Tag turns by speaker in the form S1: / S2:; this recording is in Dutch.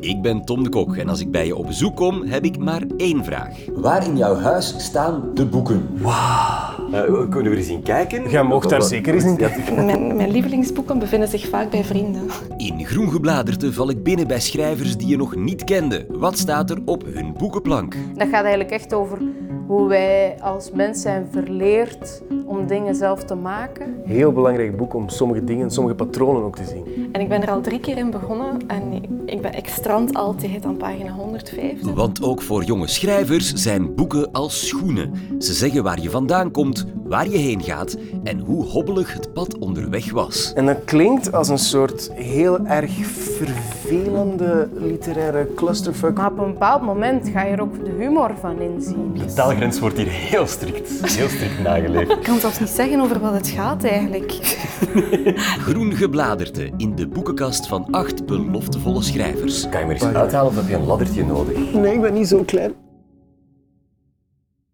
S1: Ik ben Tom de Kok en als ik bij je op bezoek kom, heb ik maar één vraag.
S2: Waar in jouw huis staan de boeken?
S1: kunnen we eens in kijken?
S3: Jij mocht daar zeker eens in
S4: Mijn, mijn lievelingsboeken bevinden zich vaak bij vrienden.
S1: In Groen Gebladerte val ik binnen bij schrijvers die je nog niet kende. Wat staat er op hun boekenplank?
S5: Dat gaat eigenlijk echt over hoe wij als mens zijn verleerd om dingen zelf te maken.
S3: Heel belangrijk boek om sommige dingen, sommige patronen ook te zien.
S4: En ik ben er al drie keer in begonnen en ik- ik, ben, ik strand altijd aan pagina 150.
S1: Want ook voor jonge schrijvers zijn boeken als schoenen. Ze zeggen waar je vandaan komt, waar je heen gaat en hoe hobbelig het pad onderweg was.
S3: En dat klinkt als een soort heel erg vervelende literaire clusterfuck.
S5: Maar op een bepaald moment ga je er ook de humor van inzien.
S6: De taalgrens wordt hier heel strikt, heel strikt nageleefd.
S4: Ik kan zelfs niet zeggen over wat het gaat eigenlijk.
S1: Groen Gebladerte in de boekenkast van acht beloftevolle schrijvers.
S6: Kan je maar eens uithalen of heb je een laddertje nodig?
S3: Nee, ik ben niet zo klein.